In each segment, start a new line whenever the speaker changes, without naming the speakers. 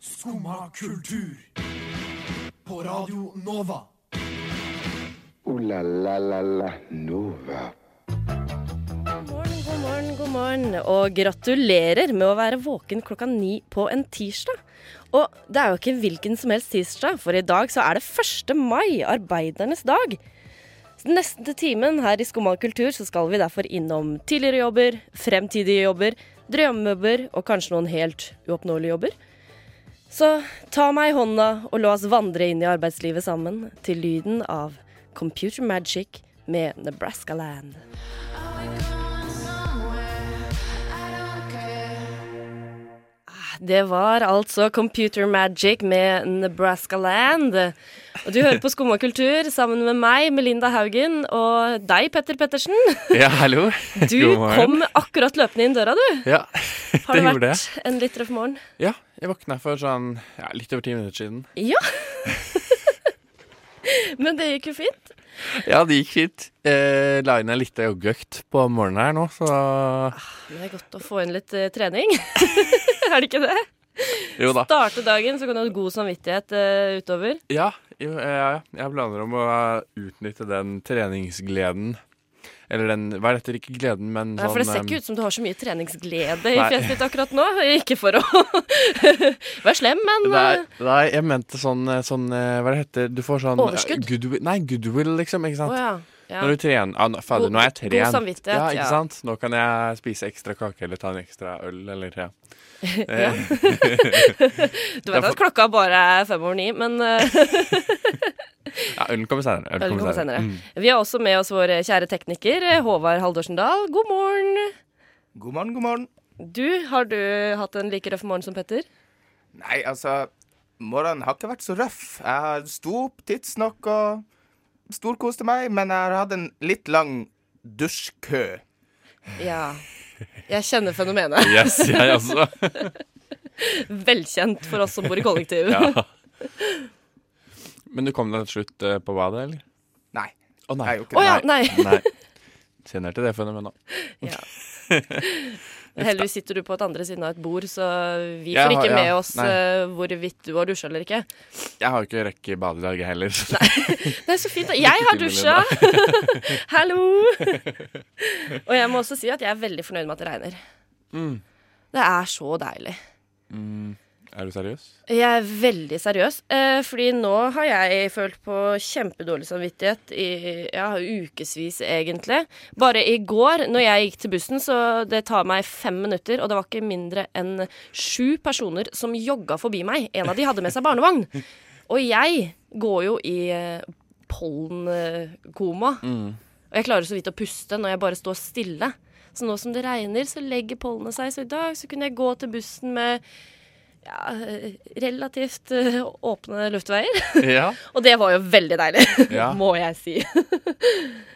Skumma kultur. På Radio Nova.
Ooh la la la la Nova.
God morgen, god morgen, god morgen, og gratulerer med å være våken klokka ni på en tirsdag. Og det er jo ikke hvilken som helst tirsdag, for i dag så er det 1. mai, arbeidernes dag. Så den neste timen her i Skumma kultur så skal vi derfor innom tidligere jobber, fremtidige jobber, drømmejobber og kanskje noen helt uoppnåelige jobber. Så ta meg i hånda og la oss vandre inn i arbeidslivet sammen til lyden av Computer Magic med Nebraska Land. Det var altså Computer Magic med Nebraska Land. Og du hører på Skumma kultur sammen med meg, Melinda Haugen, og deg, Petter Pettersen.
Ja, hallo.
Du
God morgen.
kom akkurat løpende inn døra, du.
Ja,
Har det,
det gjorde
vært
jeg.
en litt røff morgen?
Ja, jeg våkna for sånn ja, litt over ti minutter siden.
Ja. Men det gikk jo fint.
Ja, det gikk fint. Eh, la inn en liten joggeøkt på morgenen her nå, så
Det er godt å få inn litt eh, trening. er det ikke det?
Jo da.
Starte dagen, så kan du ha god samvittighet eh, utover.
Ja, jo, eh, jeg planer om å utnytte den treningsgleden. Eller den Hva er dette? Ikke gleden, men
Nei,
sånn
for det ser ikke ut som du har så mye treningsglede i
Nei.
fjeset ditt akkurat nå. Ikke for å være slem, men
Nei,
eh,
nei, jeg mente sånn, eh, sånn eh, Hva det heter Du får sånn eh,
Overskudd?
Goodwill, nei, goodwill, liksom.
Å
Ikke sant?
ja. ja.
Når du trener ah, nå- Fader, nå er jeg
God- god
trent.
samvittighet,
Ja, ikke
ja.
sant? Nå kan jeg spise ekstra kake eller ta en ekstra øl eller ja.
Ja. Du vet at klokka bare er fem over ni, men eh,
ja ølen kommer senere. Ølen
ølen
kommer
kommer
senere.
senere. Vi har også med oss vår kjære tekniker eh, Håvard Haldorsen Dahl. God morgen.
God morgen, god morgen.
Du, har du hatt en like røff morgen som Petter?
Nei, altså, morgenen har ikke vært så røff. Jeg har sto opp tidsnok og storkoste meg, men jeg har hatt en litt lang dusjkø.
Ja. Jeg kjenner fenomenet.
Yes, jeg også.
Velkjent for oss som bor i kollektiv.
ja. Men du kom deg til slutt eh, på badet, eller?
Nei.
Å nei.
Jeg gjorde ikke
Å ja,
det.
nei.
nei. Kjenner til det fenomenet.
Ja. Heldigvis sitter du på et andre siden av et bord, så vi
Jeg
får
har-
ikke
ja,
med oss
nei.
eh, hvorvidt du har dusja eller ikke.
Jeg har jo ikke rekke i badet i dag, jeg heller.
Nei, så fint. da. Jeg har
til,
dusja! Hallo! Og jeg må også si at jeg er veldig fornøyd med at det regner. Det er så deilig.
Er du seriøs?
Jeg er veldig seriøs, eh, fordi nå har jeg følt på kjempedårlig samvittighet i ja, ukevis, egentlig. Bare i går, når jeg gikk til bussen, så det tar meg fem minutter, og det var ikke mindre enn sju personer som jogga forbi meg. En av de hadde med seg barnevogn. Og jeg går jo i eh, pollenkoma. Og jeg klarer så vidt å puste når jeg bare står stille. Så nå som det regner, så legger pollenet seg. Så i dag så kunne jeg gå til bussen med ja, eh, relativt eh, åpne luftveier.
Ja.
Og det var jo veldig deilig,
Ja.
må jeg si.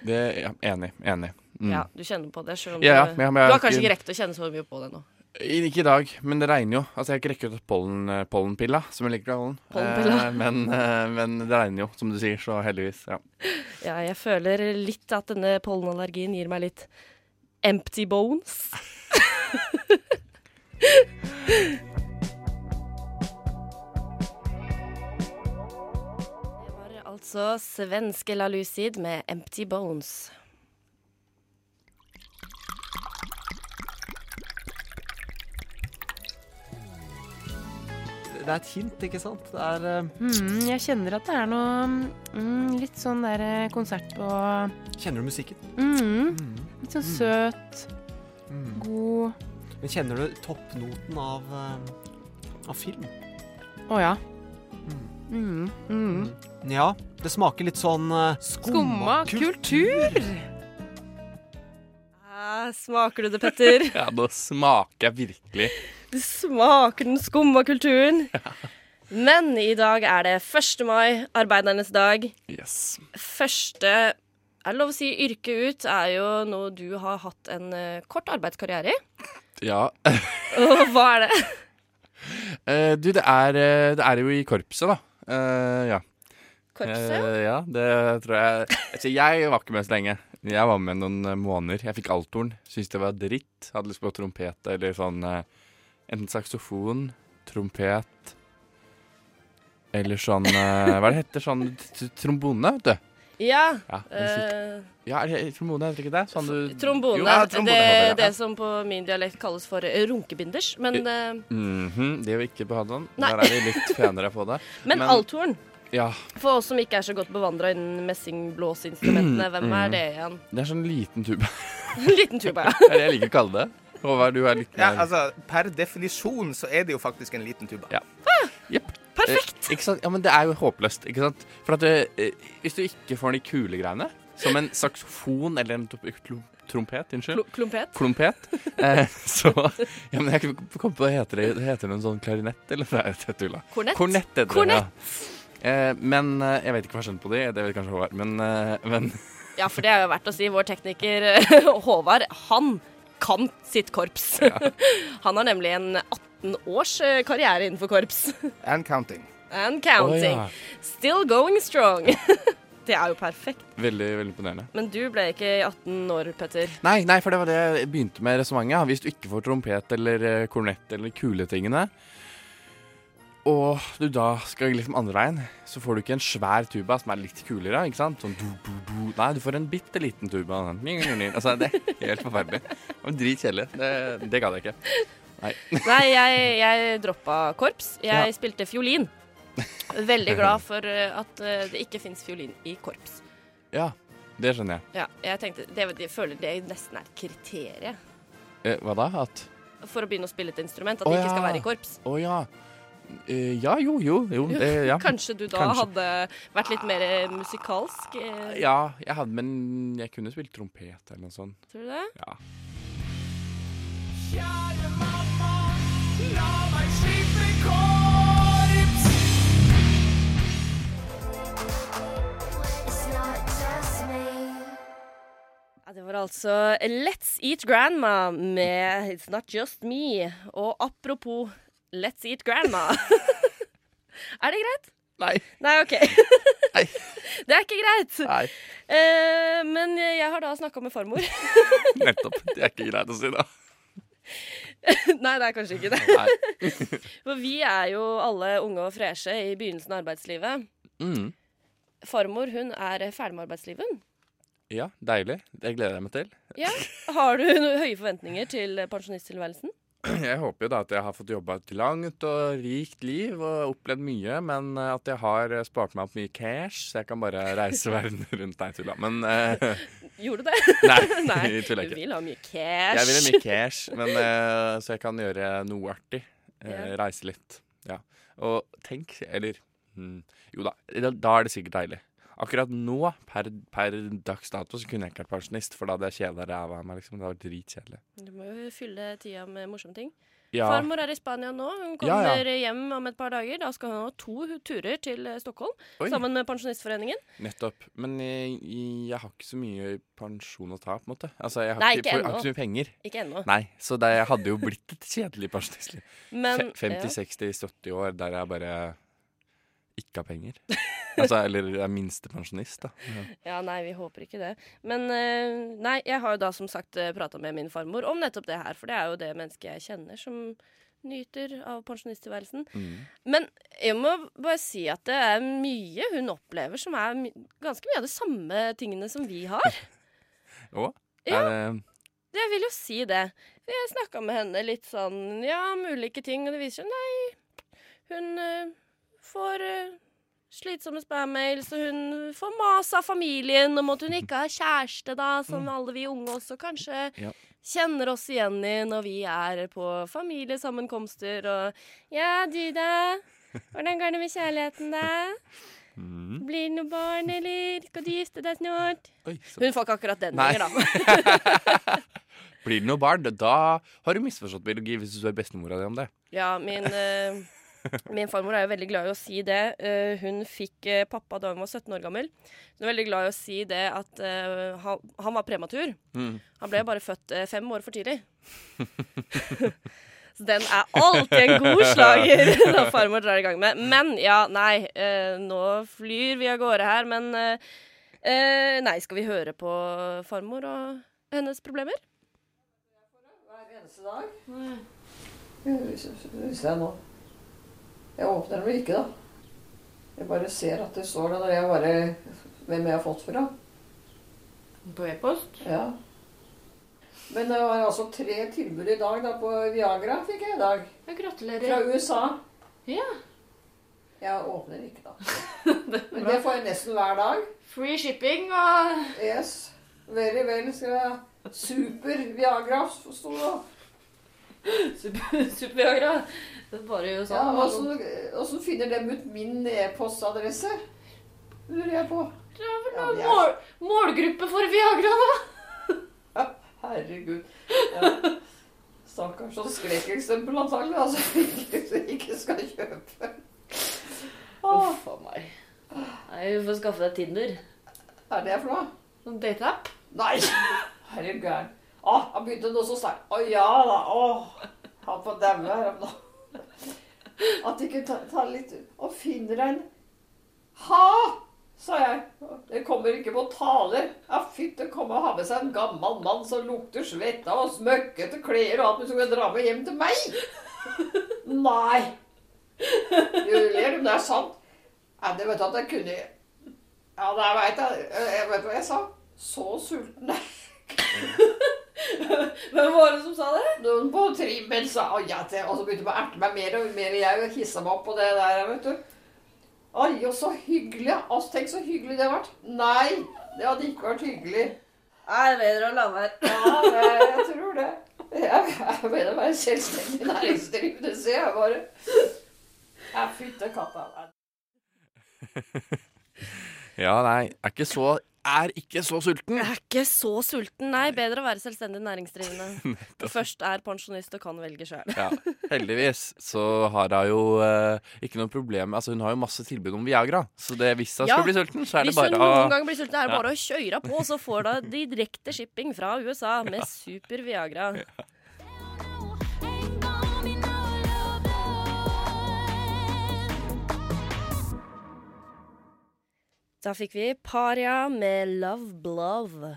Det, ja enig. Enig. Mm.
Ja, du kjenner på det, selv om
Ja, ja,
du,
men jeg- men jeg
du
har
har kanskje
ikke-
ikke rekt å kjenne så mye på det nå.
Ikke i dag, men det regner jo. Altså, jeg har ikke rekket ut pollen, eh, pollenpilla, som jeg liker å kalle den.
Pollenpilla.
Eh, men, eh, men det regner jo, som du sier, så heldigvis. Ja.
Ja, jeg føler litt at denne pollenallergien gir meg litt empty bones. Det var Altså svenske La Lucid med Empty Bones.
Det er et hint, ikke sant? Det er eh,
Mm, jeg kjenner at det er noe mm, litt sånn der eh, konsert på
Kjenner du musikken?
mm, Litt sånn søt,
Mm.
god
Men kjenner du toppnoten av, eh, av film?
Å ja. Mm, mm.
Ja, det smaker litt sånn eh,
Skumma kultur!
Ah, smaker du det, Petter?
ja, da smaker jeg virkelig.
Det smaker den skumma kulturen. Men i dag er det 1. mai, arbeidernes dag.
Yes.
Første er det lov å si yrke ut er jo noe du har hatt en eh, kort arbeidskarriere i.
Ja.
Og hva er det?
Eh, du, det er, eh, det er jo i korpset, da. Eh, ja.
Korpset?
Eh, ja, det tror jeg altså, Jeg var ikke med så lenge. Jeg var med noen eh, måneder. Jeg fikk althorn. Syntes det var dritt. Hadde lyst på trompet eller sånn eh, Enten saksofon, trompet Eller sånn eh, Hva er det heter? Sånn t- t- trombone, vet du.
Ja.
Ja, musikk.
eh,
ja er det trombone heter ikke det? Sånn du
trombone.
Jo,
ja,
det,
trombone har dere, ja.
det som på min dialekt kalles for eh, runkebinders. Men, eh,
Mhm, det gjør vi ikke på Hadeland.
Nei.
Der er vi litt penere på det.
men
men-
althorn.
Ja,
For oss som ikke er så godt bevandra innen messingblåseinstrumentene, hvem er det igjen?
det er sånn liten tube.
En liten tuba, ja.
Det er det jeg liker å kalle det. Håvard, du er litt
Ja,
mer
altså, per definisjon så er det jo faktisk en liten tuba.
Ja. Jepp.
Perfekt.
Eh, ikke sant? Ja, men det er jo håpløst, ikke sant? For at eh, eh, hvis du ikke får de kule greiene, som en saksofon eller en tro- klo- trompet, unnskyld,
Klo- Klumpet.
klompet, eh, så Ja, men jeg kom på det heter det, det heter en sånn klarinett, eller Nei, det er tulla.
Kornett.
Kornett heter
Kornett.
det, ja. Eh, men eh, jeg vet ikke forskjellen på de, det vet kanskje Håvard, men, eh, men
Ja, for det er jo verdt å si. Vår tekniker eh, Håvard, han kan sitt korps. Han har nemlig en 18 års eh, karriere innenfor korps.
And counting.
And
Å,
counting.
ja.
Still going strong. Det er jo perfekt.
Veldig, veldig imponerende.
Men du ble ikke 18 år, Petter.
Nei, nei, for det var det jeg begynte med resonnementet. ja. Hvis du ikke får trompet eller eh, kornett eller kuletingene, og du da skal liksom andre veien, så får du ikke en svær tuba som er litt kulere, ikke sant? Sånn du, du, du. Nei, du får en bitte liten tuba. sånn. Ny, ny, ny. Altså, det er helt forferdelig. Det var Dritkjedelig. Det, det gadd jeg ikke.
Nei, jeg, jeg droppa korps. Jeg
Ja.
spilte fiolin. Veldig glad for eh, at eh, det ikke fins fiolin i korps.
Ja, det skjønner jeg.
Ja, jeg tenkte, det, jeg føler det nesten er et kriterium
Eh, hva da? At
for å begynne å spille et instrument. At
Å,
det ikke skal
ja.
være i korps.
Å ja. Eh, ja, jo, jo. jo det, ja.
Kanskje du da
Kanskje.
hadde vært litt mer eh, musikalsk? eh,
Ja, jeg hadde, men jeg kunne spilt trompet eller noe sånt.
Tror du det?
Ja.
Ja, det var altså Let's Eat Grandma med It's Not Just Me. Og apropos Let's Eat Grandma. er det greit?
Nei.
Nei, OK.
Nei.
Det er ikke greit.
Nei.
Eh, men jeg har da snakka med farmor.
Nettopp. Det er ikke greit å si, da.
Nei, det er kanskje ikke det.
Nei.
For vi er jo alle unge og freshe i begynnelsen av arbeidslivet.
Mm.
Farmor hun er ferdig med arbeidslivet. hun.
Ja, deilig. Det gleder jeg meg til.
Ja. Har du noen høye forventninger til pensjonisttilværelsen?
Jeg håper jo da at jeg har fått jobba et langt og rikt liv og opplevd mye, men eh, at jeg har eh, spart meg opp mye cash, så jeg kan bare reise verden rundt. Nei, tulla. Men eh,
Gjorde du det?
Nei,
Nei.
jeg tuller
Du
ikke.
vil ha mye cash.
Jeg vil ha mye cash, men, eh, så jeg kan gjøre noe artig. Eh, reise litt. Ja. Og tenk, eller mm, Jo da, da- da er det sikkert deilig. Akkurat nå, per, per dags dato, så kunne jeg ikke vært pensjonist, for da hadde jeg kjeda ræva av meg. Liksom. Det var dritkjedelig.
Du må jo fylle tida med morsomme ting.
Ja.
Farmor er i Spania nå. Hun
Ja, ja.
kommer hjem om et par dager. Da skal hun ha to turer til eh, Stockholm
Oi.
sammen med Pensjonistforeningen.
Nettopp. Men jeg, jeg har ikke så mye pensjon å ta, på en måte. Altså, jeg har,
Nei,
ikke,
ikke
for, jeg har
ennå.
ikke så mye penger.
Ikke ennå.
Nei, så det hadde jo blitt et kjedelig pensjonistliv.
Men
Fe- 50, 60, 70 år der jeg bare ikke har penger. Altså, eller jeg er minstepensjonist, da.
ja. ja, nei, vi håper ikke det. Men eh, nei, jeg har jo da som sagt prata med min farmor om nettopp det her, for det er jo det mennesket jeg kjenner som nyter av pensjonisttilværelsen.
Mm.
Men jeg må bare si at det er mye hun opplever som er my ganske mye av de samme tingene som vi har.
Og?
Ja.
Er det-
Jeg vil jo si det. Jeg snakka med henne litt sånn ja, om ulike ting, og det viser seg nei, hun eh, får eh, slitsomme spam-mails, og hun får mas av familien om at hun ikke har kjæreste, da, som alle vi unge også kanskje
Mm. Ja.
kjenner oss igjen i når vi er på familiesammenkomster og Ja, du da? Hvordan går det med kjærligheten, da?
Mm.
Blir det noe barn, eller? Skal du gifte deg snart?
Oi, så.
Hun får ikke akkurat den
Nei.
lenger, da.
Blir det noe barn? Da har du misforstått biologi hvis du spør bestemora di om det.
Ja, min, eh, min farmor er jo veldig glad i å si det. Eh, hun fikk eh, pappa da hun var 17 år gammel. Hun er veldig glad i å si det at eh, han, han var prematur.
Mm.
Han ble bare født eh, fem år for tidlig. Så den er alltid en god slager når farmor drar i gang med. Men ja, nei, eh, nå flyr vi av gårde her, men eh, eh, Nei, skal vi høre på farmor og hennes problemer?
eneste dag. Hvis jeg nå Jeg åpner dem ikke, da. Jeg bare ser at det står der, og jeg bare Hvem jeg har fått fra?
På e-post?
Ja. Men det var altså tre tilbud i dag da, på Viagra, fikk jeg i dag.
Ja,
Fra
gratulerer.
USA.
Ja.
Jeg åpner ikke, da. Men det får jeg nesten hver dag.
Free shipping og
Yes. Very well, skal jeg Super Viagra, sto det.
super- Super-Viagra. Det er bare jo
Ja,
sånn.
og så- og så finner de ut min e-postadresse. Lurer jeg på.
Det er vel
Ja,
noen
det er-
mål, målgruppe for Viagra, da?
Herregud. Ja. Stakkars sånn skrekkeksempel antagelig, altså. Ikke, som ikke skal kjøpe. Åh,
Uff a meg. Nei, Du får skaffe deg Tinder.
er det for noe?
Sånn dateapp.
Nei! Er du gæren? Åh, han begynte nå så sterkt. Å ja da, åh. Han på daue her om dagen. At de kunne ta, ta litt Og finner en Ha! sa jeg. Det kommer ikke på tale. Ja, fytte komme og ha med seg en gammel mann som lukter svetta og smøkkete klær og alt, men som kan dra med hjem til meg. Nei! Julie, men det er sant. Nei, det vet du at jeg kunne Ja, det veit jeg. Jeg vet hva jeg sa. Så sulten er
Hvem var det som sa det?
Noen på trimmen sa «Å, ja, det», Og så begynte de å erte meg mer og mer. Jeg hissa meg opp på det der, vet du. Oi, og så hyggelig. Altså, tenk så hyggelig det har vært. Nei, det hadde ikke vært hyggelig.
Nei, det er bedre å la være.
Ja, det, jeg tror det. Jeg, jeg mener å være selvstendig næringsdrivende, sier jeg bare. Jeg fytte katta.
Ja, nei, er ikke så, er ikke så sulten.
Jeg er ikke så sulten. Nei, bedre å være selvstendig næringsdrivende. Først er pensjonist og kan velge sjøl.
Ja, heldigvis så har hun jo eh, ikke noe problem Altså hun har jo masse tilbud om Viagra, så det, hvis hun
Ja,
skal bli sulten, så er det
Hvis hun
bare å
noen gang blir sulten, er det
Ja.
bare å kjøre på, så får du direkte shipping fra USA med super Viagra. Da fikk vi Paria med Love Blove.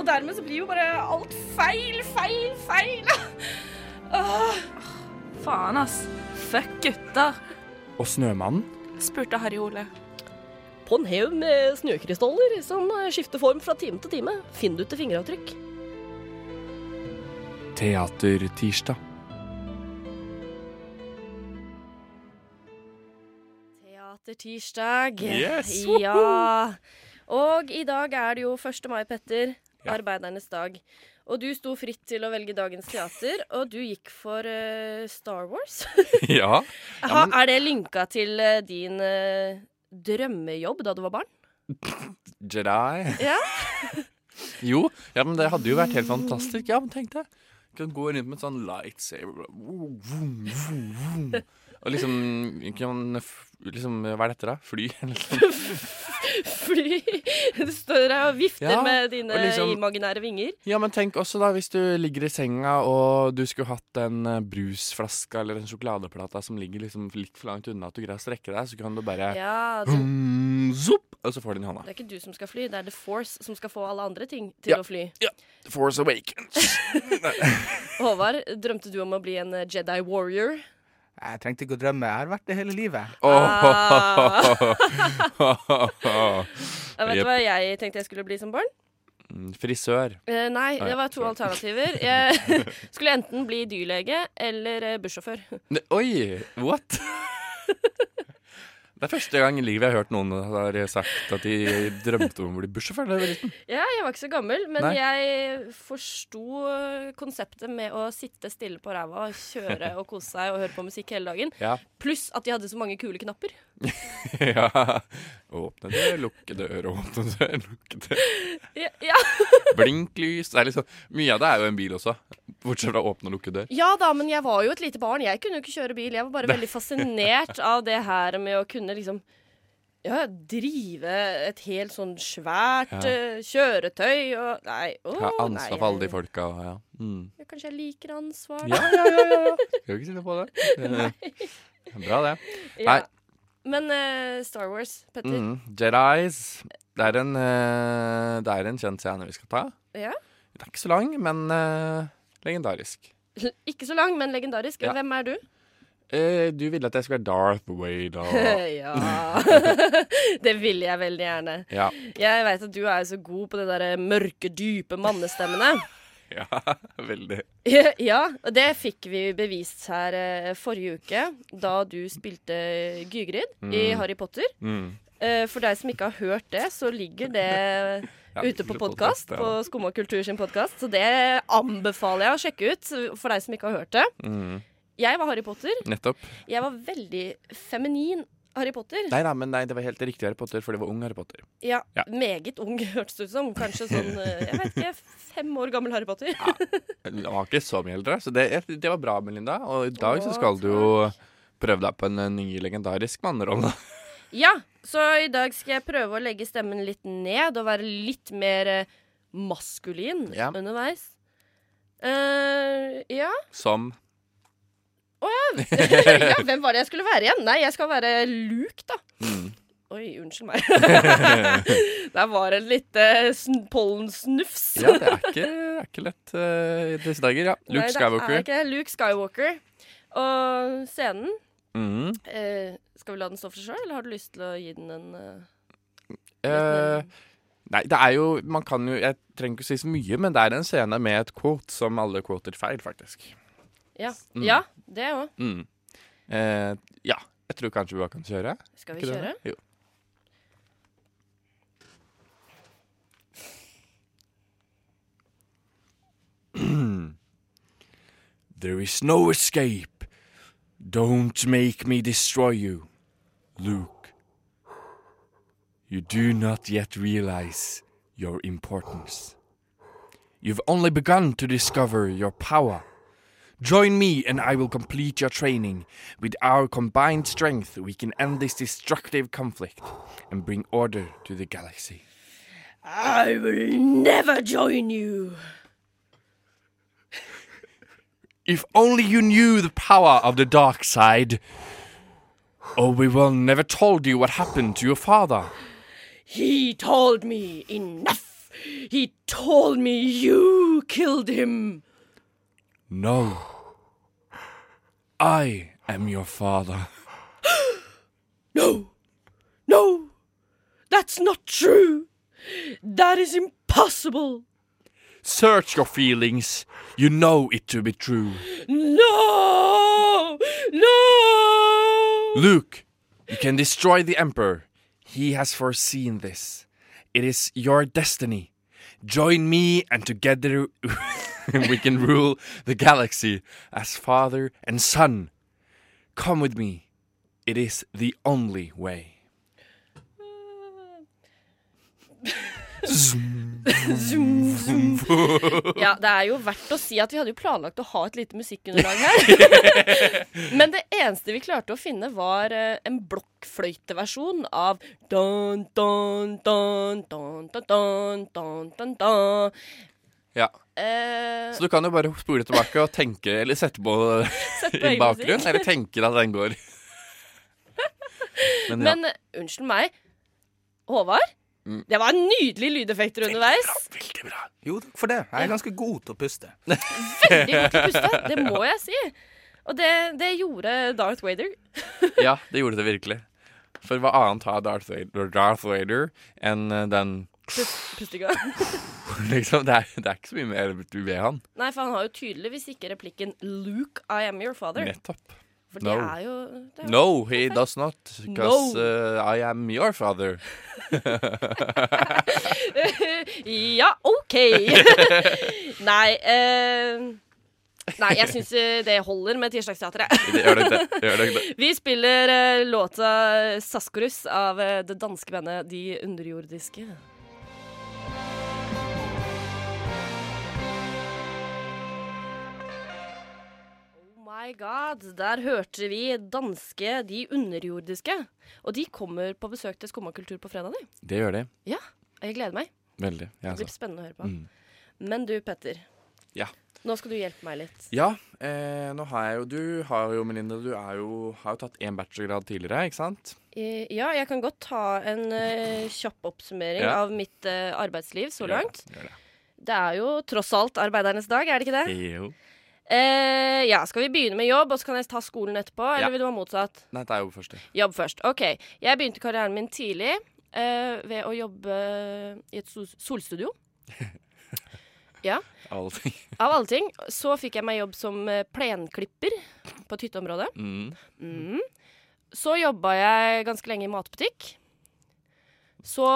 Og dermed så blir jo bare alt feil, feil, feil. Åh,
Faen, ass. Fuck gutter,
Og Snømannen?
spurte Harry Ole.
På en haug med snøkrystaller som skifter form fra time til time, finner du til fingeravtrykk.
Teatertirsdag.
Teatertirsdag.
Yes,
Ja. Og i dag er det jo 1. mai, Petter.
Ja.
Arbeidernes dag. Og du sto fritt til å velge dagens teater, og du gikk for eh, Star Wars.
Ja.
Ha,
Ja, men-
er det linka til eh, din eh, drømmejobb da du var barn?
Jedi.
Ja.
jo, ja, men det hadde jo vært helt fantastisk. Ja, men tenk deg. Du kan gå rundt med en sånn lightsaber vroom, vroom, vroom, vroom. Og liksom, kan, f- liksom Hva er dette, da? Fly? Eller sånn.
Fly! Du står der og vifter
Ja,
med dine
og liksom-
imaginære vinger.
Ja, men tenk også, da, hvis du ligger i senga og du skulle hatt en eh, brusflaske eller en sjokoladeplate som ligger liksom litt for langt unna at du greier å strekke deg, så kan du bare
Ja, du,
vroom, zopp, Og så får du den i hånda.
det er ikke du som skal fly, det er The Force som skal få alle andre ting til
Ja.
å fly.
Force Awakens.
Håvard, drømte du om å bli en eh, Jedi warrior?
Jeg trengte ikke å drømme. Jeg har vært det hele livet.
Åh.
Jeg vet
Jep.
hva jeg tenkte jeg skulle bli som barn?
Mm, Frisør.
Eh, nei,
Nei,
det var to
sorry.
alternativer. Jeg skulle enten bli dyrlege eller eh, bussjåfør.
Ne- Oi, what? Det er første gang i livet jeg har hørt noen har sagt at de drømte om å bli bussjåfør. da de var liten.
Ja, jeg var ikke så gammel, men
Nei.
jeg forsto eh, konseptet med å sitte stille på ræva og kjøre og kose seg og høre på musikk hele dagen.
Ja.
Pluss at de hadde så mange kule knapper.
ja. Åpne dør, lukke dør, åpne dør, lukke dør.
Ja, ja.
Blinklys. Det er liksom, mye av det er jo en bil også. Bortsett fra åpne og lukke dør.
Ja da, men jeg var jo et lite barn. Jeg kunne jo ikke kjøre bil. Jeg var bare veldig fascinert av det her med å kunne liksom ja, drive et helt sånn svært
Ja.
eh, kjøretøy og Nei. Å,
Jeg har
nei.
ansvar for alle de folka. og Ja. Mm.
jeg- Kanskje jeg liker ansvar.
Ja, ja, ja, ja, ja. Skal ikke sitte på det. Nei. Bra, det.
Ja.
Nei.
Men eh, Star Wars, Petter.
Mm. Jedis. Det er en, eh, det er en kjent scene vi skal ta.
Ja.
Den er ikke så lang, men eh, legendarisk.
Ikke så lang, men legendarisk.
Ja.
Hvem er du?
Eh, du ville at jeg skulle være Darth Vader.
Eh, ja Det vil jeg veldig gjerne.
Ja.
Jeg veit at du er så god på de der mørke, dype mannestemmene.
ja, veldig.
Ja, og det fikk vi bevist her eh, forrige uke, da du spilte Gygrid i
Mm.
Harry Potter.
Mm.
Eh, For deg som ikke har hørt det, så ligger det
Ja,
ute på
ligger
podkast,
podcast, ja.
på Skum og kultur sin podkast, så det anbefaler jeg å sjekke ut for deg som ikke har hørt det.
Mm.
Jeg var Harry Potter.
Nettopp.
Jeg var veldig feminin Harry Potter.
Nei da, men nei, det var helt riktig Harry Potter, for det var ung Harry Potter.
Ja,
Ja.
Meget ung, hørtes det ut som. Kanskje sånn eh, jeg vet ikke, fem år gammel Harry Potter.
Han var ikke så mye eldre, så det, det var bra, Melinda. Og i dag så
Å,
skal du jo prøve deg på en eh, ny legendarisk mannerolle.
Ja, så i dag skal jeg prøve å legge stemmen litt ned og være litt mer eh, maskulin
Ja.
underveis. Eh, ja.
Som
Å ja. ja. Hvem var det jeg skulle være igjen? Nei, jeg skal være Luke, da.
Mm.
Oi, unnskyld meg. Der var en lite sn pollensnufs.
Ja, det er ikke, det er ikke lett eh, i disse dager. Ja.
Nei,
Luke
det Er
Skywalker.
ikke det. Luke Skywalker. Og scenen
Mm.
eh, Skal vi la den stå for seg sjøl, eller har du lyst til å gi den en eh,
Eh, nei, det er jo Man kan jo Jeg trenger ikke å si så mye, men det er en scene med et quote som alle quoter feil, faktisk.
Ja.
Mm.
ja det òg.
Mm. Eh, ja. Jeg tror kanskje vi bare kan kjøre.
Skal vi
Ikke det,
kjøre?
da? Jo. There is no escape. Don't make me destroy you, Luke. You do not yet realize your importance. You've only begun to discover your power. Join me and I will complete your training. With our combined strength, we can end this destructive conflict and bring order to the galaxy.
I will never join you.
If only you knew the power of the dark side. Oh, we will never told you what happened to your father.
He told me enough. He told me you killed him.
No. I am your father.
No, no, that's not true. That is impossible.
Search your feelings. You know it to be true.
No, no.
Luke, you can destroy the Emperor. He has foreseen this. It is your destiny. Join me, and together we can rule the galaxy as father and son. Come with me. It is the only way.
Zoom, zoom. Ja, det er jo verdt å si at vi hadde jo planlagt å ha et lite musikkunderlag her. Men det eneste vi klarte å finne, var eh, en blokkfløyteversjon av dun, dun, dun, dun, dun, dun, dun, dun, dun.
Ja,
Eh,
Så du kan jo bare spole tilbake og tenke, eller sette på
Sett på
i
egen
bakgrunnen,
musikk.
eller tenke at den går. Men ja,
Men eh, unnskyld meg, Håvard?
Mm.
Det var nydelige lydeffekter underveis.
er veldig bra.
Jo, takk for det. Jeg er ganske god til å puste.
Veldig godt å puste. Det må jeg si. Og det, det gjorde Darth Vader.
Ja, det gjorde det virkelig. For hva annet har Darth Vader, Darth Vader enn eh, den
Pustinga.
liksom, det, er, det er ikke så mye mer ved han.
Nei, for han har jo tydeligvis ikke replikken 'Luke, I am your father'.
Nettopp.
For det
no.
er jo det er jo-
No, he does not, because
No.
uh, I am your father.
Ja, OK! Nei. eh, Nei, jeg syns eh, det holder med Tirsdagsteatret.
Det gjør nok det. Gjør nok det.
Vi spiller eh, låta 'Saskorus' av eh, det danske bandet De underjordiske. Oh My God, Der hørte vi danske De underjordiske. Og de kommer på besøk til Skumma kultur på fredag. de.
Det gjør de.
Ja, jeg gleder meg.
Veldig. Ja,
Det blir
altså.
spennende å høre på.
Mm.
Men du, Petter.
Ja.
Nå skal du hjelpe meg litt.
Ja, eh, nå har jeg jo Du har jo, Melinda, du er jo, har jo tatt én bachelorgrad tidligere, ikke sant?
Eh, Ja, jeg kan godt ta en eh, kjapp oppsummering
Ja.
av mitt eh, arbeidsliv så
Gjør det,
langt.
gjør det.
Det er jo tross alt arbeidernes dag, er det ikke det?
Jo.
Eh, ja, skal vi begynne med jobb, og så kan jeg ta skolen etterpå?
Ja.
Eller vil du ha motsatt?
Nei, det er jo først. det.
Jobb først. OK. Jeg begynte karrieren min tidlig eh, ved å jobbe i et sol- solstudio. Ja.
Av alle ting.
Av alle ting. Så fikk jeg meg jobb som eh, plenklipper på et hytteområde.
Mm.
Mm. Så jobba jeg ganske lenge i matbutikk. Så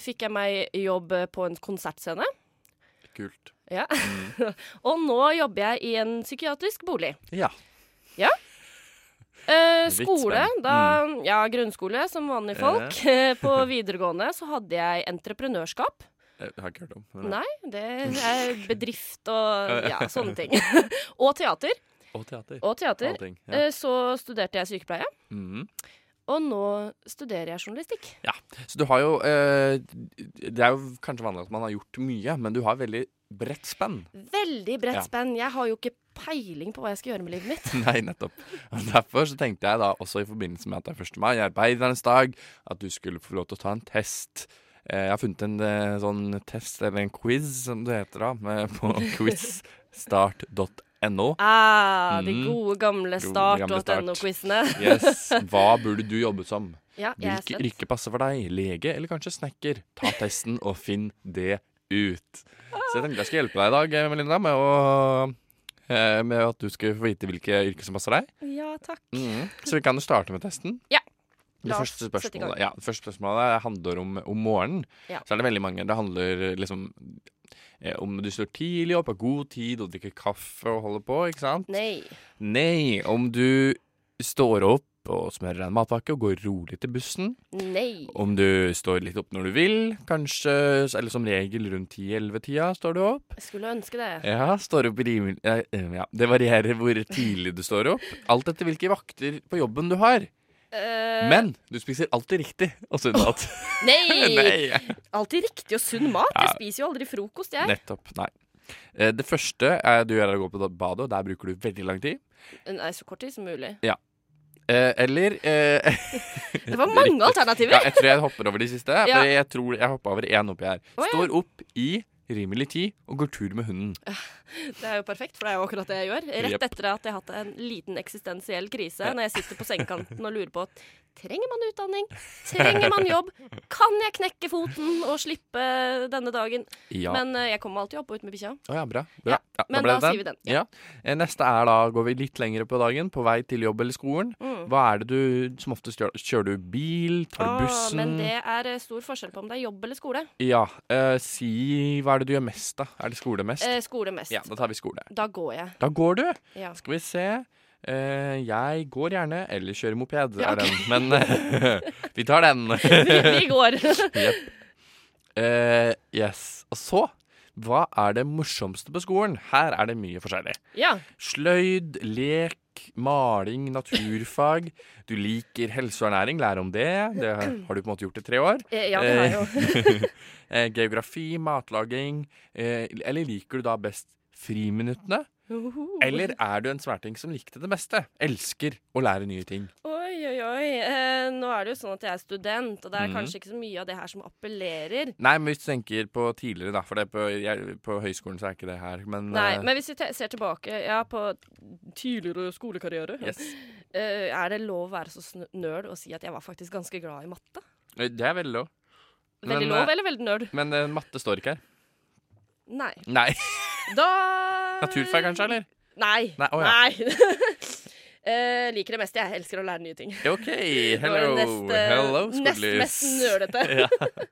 fikk jeg meg jobb på en konsertscene.
Kult.
Ja. og nå jobber jeg i en psykiatrisk bolig.
Ja.
Ja. Eh,
Vidt
skole,
spenn.
da Ja, grunnskole som vanlige folk. Eh, På videregående så hadde jeg entreprenørskap.
Jeg Eh, har ikke hørt om men-
Nei, det er bedrift og ja,
Ja.
sånne ting. og teater.
eh, Og teater.
Og teater.
Alle ting, ja.
Eh, Så studerte jeg sykepleie.
Mhm.
Og nå studerer jeg journalistikk.
Ja. Så du har jo eh, Det er jo kanskje vanlig at man har gjort mye, men du har veldig bredt spenn.
Veldig bredt
Ja.
spenn. Jeg har jo ikke peiling på hva jeg skal gjøre med livet mitt.
Nei, nettopp. Og Derfor så tenkte jeg da også i forbindelse med at det er 1. mai, arbeidernes dag, at du skulle få lov til å ta en test. Eh, Jeg har funnet en eh, sånn test, eller en quiz som det heter da, med- på quizstart.no.
Ah, de
Mm.
gode gamle
Gode gamle
start.no-quizene.
Yes. Hva burde du jobbe som?
Ja, jeg er
Hvilket
spent.
yrke passer for deg? Lege eller kanskje snekker? Ta testen og finn det ut. Så jeg tenkte jeg skulle hjelpe deg i dag, eh, Melinda, med, å, eh, med at du skal få vite hvilke yrker som passer deg.
Ja, takk.
Mhm. Så vi kan jo starte med testen.
Mm. Ja.
Det
La oss
første,
sette i gang.
spørsmålet, ja, det første spørsmålet eh, handler om, om morgenen.
Ja.
Så er det veldig mange. Det handler liksom eh, om du står tidlig opp, har god tid og drikker kaffe og holder på, ikke sant?
Nei.
Nei. Om du står opp og smører deg en matpakke og går rolig til bussen.
Nei.
Om du står litt opp når du vil, kanskje, eller som regel rundt 10-11-tida står du opp.
Jeg skulle ønske det.
Ja, står opp rimelig eh, eh, ja. Det varierer hvor tidlig du står opp. Alt etter hvilke vakter på jobben du har.
Eh,
Men du spiser alltid riktig og sunn mat.
Nei!
Nei.
Alltid riktig og sunn mat.
Ja.
Jeg spiser jo aldri frokost, jeg.
Nettopp. Nei. Eh, Det første eh, du gjør, er å gå på da- badet, og der bruker du veldig lang tid.
Nei, så kort tid som mulig.
Ja. Eh, Eller eh,
Det var mange alternativer.
Ja, jeg tror jeg hopper over de siste.
Ja.
For jeg tror jeg hoppa over én oppi her.
Å, ja.
Står opp i rimelig tid og går tur med hunden.
Det er jo perfekt, for det er jo akkurat det jeg gjør. Rett
Jepp.
etter at jeg har hatt en liten eksistensiell krise, når jeg sitter på sengekanten og lurer på Trenger man utdanning? Trenger man jobb? Kan jeg knekke foten og slippe denne dagen?
Ja.
Men eh, jeg kommer meg alltid opp og ut med bikkja.
Å ja, bra. bra. Ja,
men da
ble det
sier vi den,
Ja. Eh, Neste er da, går vi litt lengre på dagen, på vei til jobb eller skolen.
Mm.
Hva er det du som oftest gjør? Kjører du bil? Tar du
Åh,
bussen?
Ah, Men det er eh, stor forskjell på om det er jobb eller skole.
Ja. eh, si hva er det du gjør mest, da? Er det skole mest?
Eh, skole mest.
Ja, da tar vi skole.
Da går jeg.
Da går du.
Ja.
Skal vi se. Eh, jeg går gjerne, eller kjører moped,
Ja,
er
ok.
den. Men eh, vi tar den.
Vi, vi går.
Jepp. Eh, yes. Og så, hva er det morsomste på skolen? Her er det mye forskjellig.
ja.
Sløyd, lek, maling, naturfag. Du liker helse og ernæring, lære om det. Det har har du på en måte gjort i tre år.
Eh, ja, det har jeg
jo. Geografi, matlaging. eh, Eller liker du da best friminuttene? Eller er du en sverting som likte det meste? Elsker å lære nye ting.
Oi, oi, oi. Eh, nå er det jo sånn at jeg er student, og det er
Mhm.
kanskje ikke så mye av det her som appellerer.
Nei, men hvis du tenker på tidligere, da. For det er på, jeg, på høyskolen så er ikke det her. Men,
Nei,
eh,
men hvis vi te- ser tilbake ja, på tidligere skolekarriere
Yes.
eh, Er det lov å være så sn- nerd og si at jeg var faktisk ganske glad i matte?
Eh, det er veldig lov.
Veldig
Men,
lov
eh,
eller veldig nerd?
Men eh, matte står ikke her.
Nei.
Nei.
Da
Naturfag kanskje, eller?
Nei.
Nei, å
Nei. Eh, liker det meste. Jeg elsker å lære nye ting.
OK.
Det var
Hello.
det neste-
Hello,
Nest
skolelys.
mest nerdete.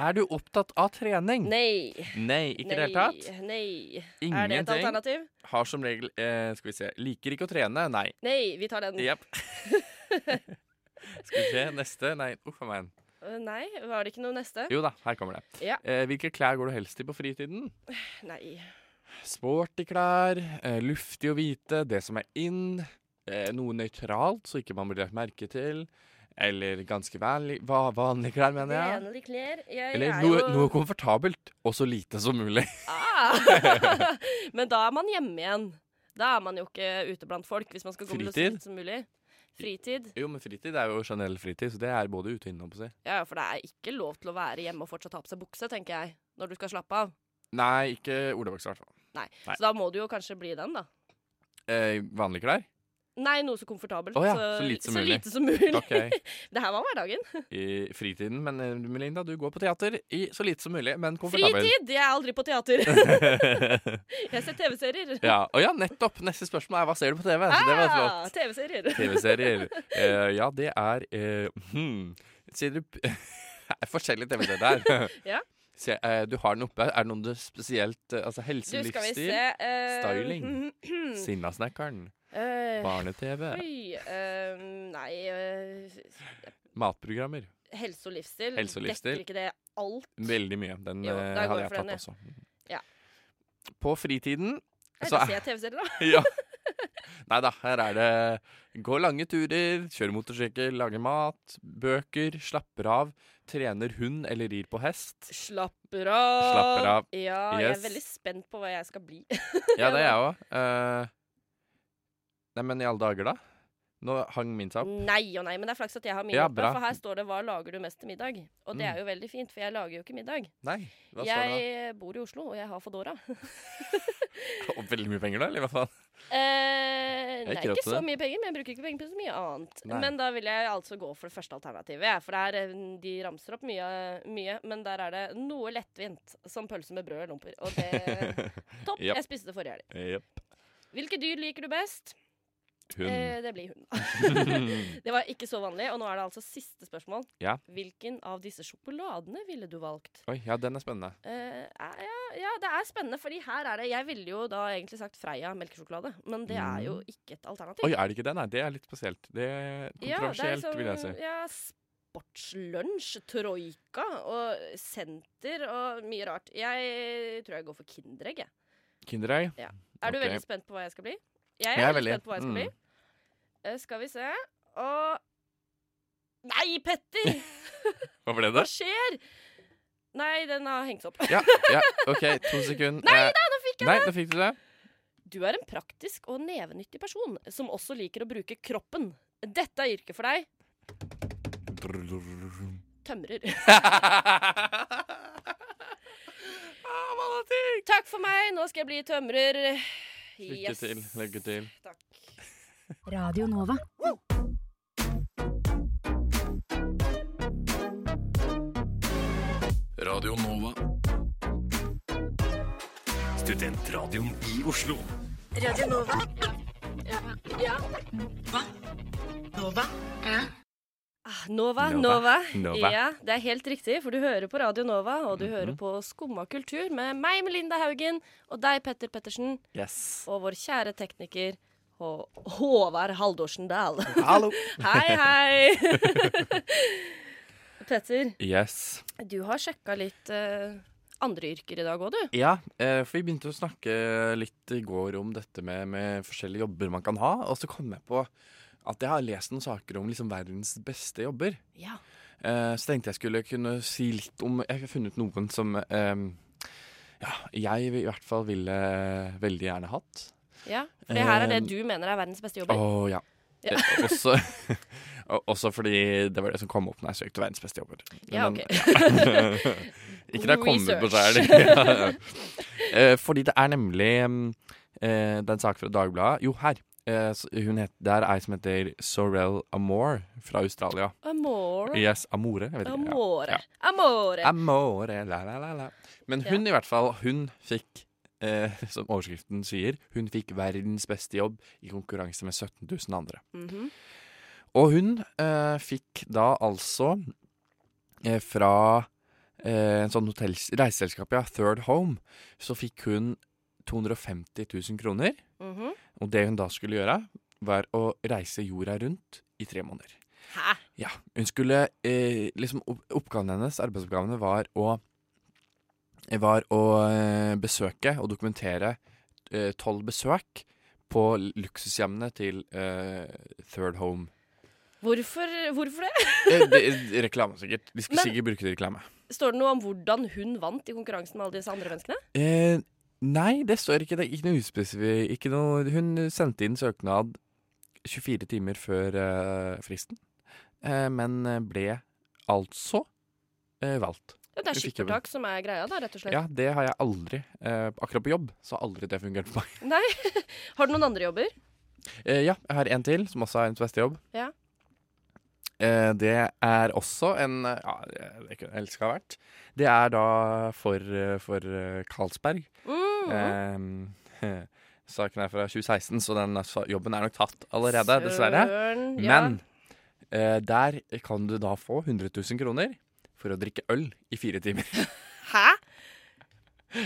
Er du opptatt av trening?
Nei.
Nei, ikke i det hele tatt.
Nei. Nei. Er det et
Ingenting.
alternativ?
Har som regel eh, Skal vi se. Liker ikke å trene. Nei.
Nei, vi tar den.
Jepp. skal vi se. Neste. Nei, uff a meg.
Eh, Nei, var det ikke noe neste?
Jo da, her kommer det.
Ja.
Eh, hvilke klær går du helst i på fritiden?
Nei.
Sporty klær, eh, luftig og hvite, det som er in. Eh, noe nøytralt, så ikke man blir lagt merke til. Eller ganske vanlig, va vanlige klær, mener jeg.
Renere klær. Jeg
Eller
er
noe,
jo
noe komfortabelt, og så lite som mulig.
ah, Ja! Men da er man hjemme igjen. Da er man jo ikke ute blant folk, hvis man skal komme så
Fritid?
sent som mulig. Fritid.
Jo, men fritid er jo generell fritid, så det er både ute og inne. holdt på å si.
Ja, for det er ikke lov til å være hjemme og fortsatt ha på seg bukse, tenker jeg, når du skal slappe av.
Nei, ikke olabakst, i hvert fall.
Nei.
Nei.
Så da må du jo kanskje bli den, da.
Eh, vanlige klær?
Nei, noe så komfortabelt.
Å ja, så lite som mulig.
lite som mulig.
Ok.
det her var hverdagen.
I fritiden. Men eh, Melinda, du går på teater i så lite som mulig, men komfortabel.
Fritid! Jeg er aldri på teater. jeg ser TV-serier.
ja. Å ja, nettopp. Neste spørsmål er hva ser du på TV? Så det var flott.
Ah, TV-serier.
TV-serier. Eh, ja, det er eh, hmm. Sier du p- Det er forskjellige TV-serier der.
Ja.
Se, eh, du har den oppe. Er det noen du spesielt eh, Altså
Du,
helse,
skal vi
livsstil,
se eh,
styling, Sinnasnekkeren,
Mm. eh,
barne-TV,
Oi, eh, nei eh,
matprogrammer.
Helse og livsstil.
Helse og livsstil.
Dekker ikke det alt?
Veldig mye. Den
Jo,
eh,
da går
hadde
jeg
jeg
for den,
tatt
jeg.
også. Mm.
Ja.
På fritiden
Nei,
så
da
er-
ser jeg TV-serier, da.
ja. Nei da, her er det gå lange turer, kjøre motorsykkel, lage mat, bøker, slapper av, trener hund eller rir på hest.
Slapper av.
Slapper av.
Ja, jeg er
Yes.
veldig spent på hva jeg skal bli.
Ja, det er jeg òg. nei, men i alle dager, da? Nå hang min seg opp.
Nei og nei, men det er flaks at jeg har mine
Ja,
oppe,
bra.
for her står det 'Hva lager du mest til middag?' Og det
Mm.
er jo veldig fint, for jeg lager jo ikke middag.
Nei, hva står det
Jeg bor i Oslo, og jeg har Foodora.
da? Og Veldig mye penger, da? Eller hva faen?
Eh,
Jeg
nei,
kjøpte
ikke så
det.
mye penger, men jeg bruker ikke penger på så mye annet.
Nei.
Men da vil jeg altså gå for det første alternativet, jeg, for det er, eh, de ramser opp mye, mye, men der er det noe lettvint, som pølse med brød og lomper. Og det Topp!
Japp.
Jeg spiste det forrige helg.
Jepp.
Hvilke dyr liker du best?
Hun.
Eh, det blir hund. det var ikke så vanlig, og nå er det altså siste spørsmål.
Ja.
Hvilken av disse sjokoladene ville du valgt?
Oi, ja, den er spennende.
Eh, ja, ja, det er spennende, fordi her er det Jeg ville jo da egentlig sagt Freia melkesjokolade, men det er jo
Mm.
ikke et alternativ.
Oi, er det ikke det? Nei, det er litt spesielt. Det er kontroversielt,
ja, det er
vil jeg si.
liksom, Ja, sportslunsj, troika og senter og mye rart. Jeg tror jeg går for Kinderegg, jeg.
Kinderegg.
Ja. Er du
Ok.
veldig spent på hva jeg skal bli? Jeg
Jeg
er
er
veldig
veldig,
spent på hva jeg skal
mm.
bli. Eh, skal vi se Og Nei, Petter!
Hva ble
Hva
det?
skjer? Nei, den har hengt seg opp.
Ja, ja, OK, to sekunder.
Nei
Eh,
da, nå fikk jeg
Nei, da fikk du det.
Du er en praktisk og nevenyttig person som også liker å bruke kroppen. Dette er yrket for deg. Tømrer.
Ah,
Takk for meg, nå skal jeg bli tømrer.
Lykke
Yes.
til. Lykke til.
Radio Nova.
Radio Nova. Studentradioen i Oslo.
Radio Nova. Ja. Hva? Nova? Ja.
Ah, Nova, Nova.
Nova, Nova.
Ja, det er helt riktig, for du hører på Radio Nova, og du
Mhm.
hører på Skumma kultur med meg, Melinda Haugen, og deg, Petter Pettersen,
Yes.
og vår kjære tekniker Hå- Håvard Haldorsen Dahl.
Hallo.
hei, hei. Petter,
Yes.
du har sjekka litt eh, andre yrker i dag òg, du.
Ja, eh, for vi begynte å snakke litt i går om dette med, med forskjellige jobber man kan ha. Og så kom jeg på at jeg har lest noen saker om liksom verdens beste jobber.
Ja.
Eh, så tenkte jeg skulle kunne si litt om Jeg har funnet noen som eh, ja, jeg i hvert fall ville veldig gjerne hatt.
Ja, For det her er det
Eh,
du mener er verdens beste
Å
jobber.
ja.
Ja.
Eh, også, og- også fordi det var det som kom opp når jeg søkte verdens beste jobber.
Ja, ok.
ja. Ikke det har kommet på seg. eller? Eh, fordi det er nemlig mm, eh, Det er en sak fra Dagbladet. Jo, her. Eh, s- Hun het, det er ei som heter Sorel Amore fra Australia.
Amore.
Yes, Amore. Jeg vet ikke, ja.
Amore.
Ja.
Amore.
Amore, la, la, la, la. Men hun i hvert fall, hun fikk, eh, som overskriften sier, hun fikk verdens beste jobb i konkurranse med 17 000 andre.
Mhm.
Og hun eh, fikk da altså eh, fra eh, en sånn hotells- reiseselskap, ja, Third Home, så fikk hun 250 000 kroner.
Mhm.
Og det hun da skulle gjøre, var å reise jorda rundt i tre måneder.
Hæ?
Ja, hun skulle eh, liksom opp, Oppgaven hennes, arbeidsoppgavene, var å Var å eh, besøke og dokumentere eh, tolv besøk på luksushjemmene til eh, Third Home.
Hvorfor, hvorfor det?
Eh, de, reklame, sikkert. De skulle
Men-
sikkert bruke det i reklame.
Står det noe om hvordan hun vant i konkurransen med alle disse andre menneskene?
Eh, Nei, det står ikke. Det er ikke noe uspesifikt. Ikke noe, hun sendte inn søknad 24 timer før eh, fristen, eh, men ble altså eh, valgt.
Ja, det er
Hun fikk jobben.
skippertak som er greia, da, rett og slett.
Ja, det har jeg aldri. Eh, akkurat på jobb så har aldri det fungert for meg.
Nei. Har du noen andre jobber?
Eh, ja, jeg har en til, som også er hennes beste jobb.
Ja.
Eh, det er også en eh, Ja, det- det kunne jeg elska vært. Det er da for, eh, for eh, Carlsberg.
Mm.
Eh, saken er fra 2016, så den er sa- jobben er nok tatt allerede, dessverre.
Søren, ja.
Men eh, der kan du da få 100 000 kroner for å drikke øl i fire timer.
Hæ?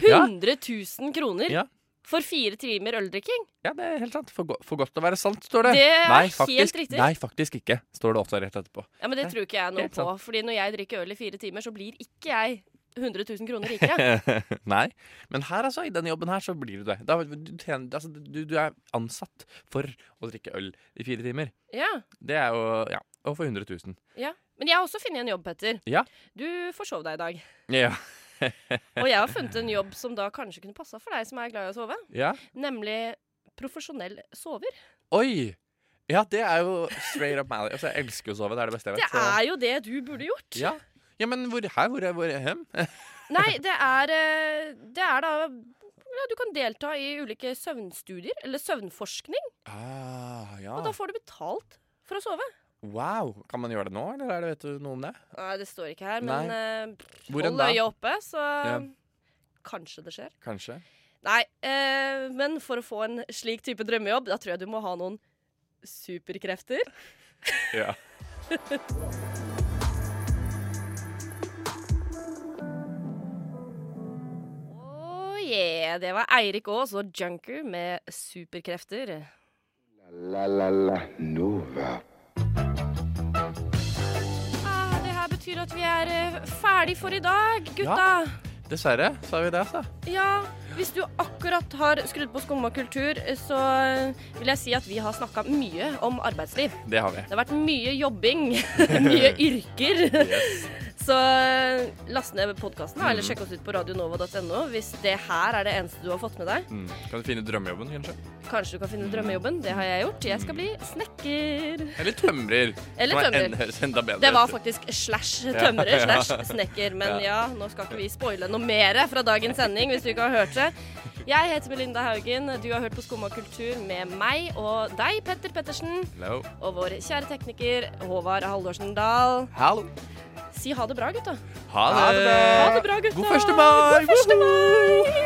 Ja.
100 000 kroner
Ja.
for fire timer øldrikking?
Ja, det er helt sant. For, go for godt til å være sant, står det.
Det er
nei,
helt
faktisk,
riktig.
Nei, faktisk ikke, står det også rett etterpå.
Ja, men Det tror ikke jeg noe
helt sant.
på. Fordi når jeg drikker øl i fire timer, så blir ikke jeg 100 000 kroner rikere.
Nei. Men her, altså, i denne jobben her, så blir du det. Da, du, tjener, altså, du, du er ansatt for å drikke øl i fire timer.
Ja,
Det er jo Ja. Og for 100 000.
ja. Men jeg har også funnet en jobb, Petter.
Ja.
Du forsov deg i dag.
ja.
Og jeg har funnet en jobb som da kanskje kunne passa for deg som er glad i å sove.
Ja.
Nemlig profesjonell sover.
Oi! Ja, det er jo straight up my alley. Altså, jeg elsker å sove. Det er det beste jeg
Det
vet. så-
er jo det du burde gjort.
ja. ja, men hvor her? Hvor er, hvor er hem?
Nei, det er eh, Det er da ja, Du kan delta i ulike søvnstudier eller søvnforskning,
ah, ja.
og da får du betalt for å sove.
Wow. Kan man gjøre det nå, eller er det, vet du noe om det?
Nei, det står ikke her,
Nei.
men eh,
Hvor enn
hold
da?
øyet oppe, så
Ja.
kanskje det skjer.
Kanskje.
Nei, eh, men for å få en slik type drømmejobb, da tror jeg du må ha noen superkrefter.
Ja.
Oh yeah, det var Eirik Aas og Junker med superkrefter.
La la la Nova.
Ah, det her betyr at vi er eh, ferdig for i dag, gutta.
Dessverre, sa vi det, altså.
Ja. Hvis du akkurat har skrudd på Skumma kultur, så eh, vil jeg si at vi har snakka mye om arbeidsliv.
Det har vi.
Det har vært mye jobbing, mye yrker. Så eh, last ned podkasten,
Mm.
eller sjekk oss ut på radionova.no hvis det her er det eneste du har fått med deg.
Mm. Kan du finne drømmejobben, kanskje?
Kanskje du kan finne drømmejobben. Det har jeg gjort. Jeg skal bli snekker.
Eller tømrer.
Eller
som er
tømrer.
en- høres enda bedre.
Det var
ut.
faktisk slash
Ja.
tømrer
Ja.
slash snekker. Men ja, nå skal ikke vi spoile noe mer fra dagens sending, hvis du ikke har hørt det. Jeg heter Melinda Haugen. Du har hørt på Skumma kultur med meg og deg, Petter Pettersen.
Hello.
Og vår kjære tekniker Håvard Haldorsen Dahl.
Hallo.
Si ha det bra, gutta.
Ha det.
Ha det bra, gutta.
God første mai.
God første mai.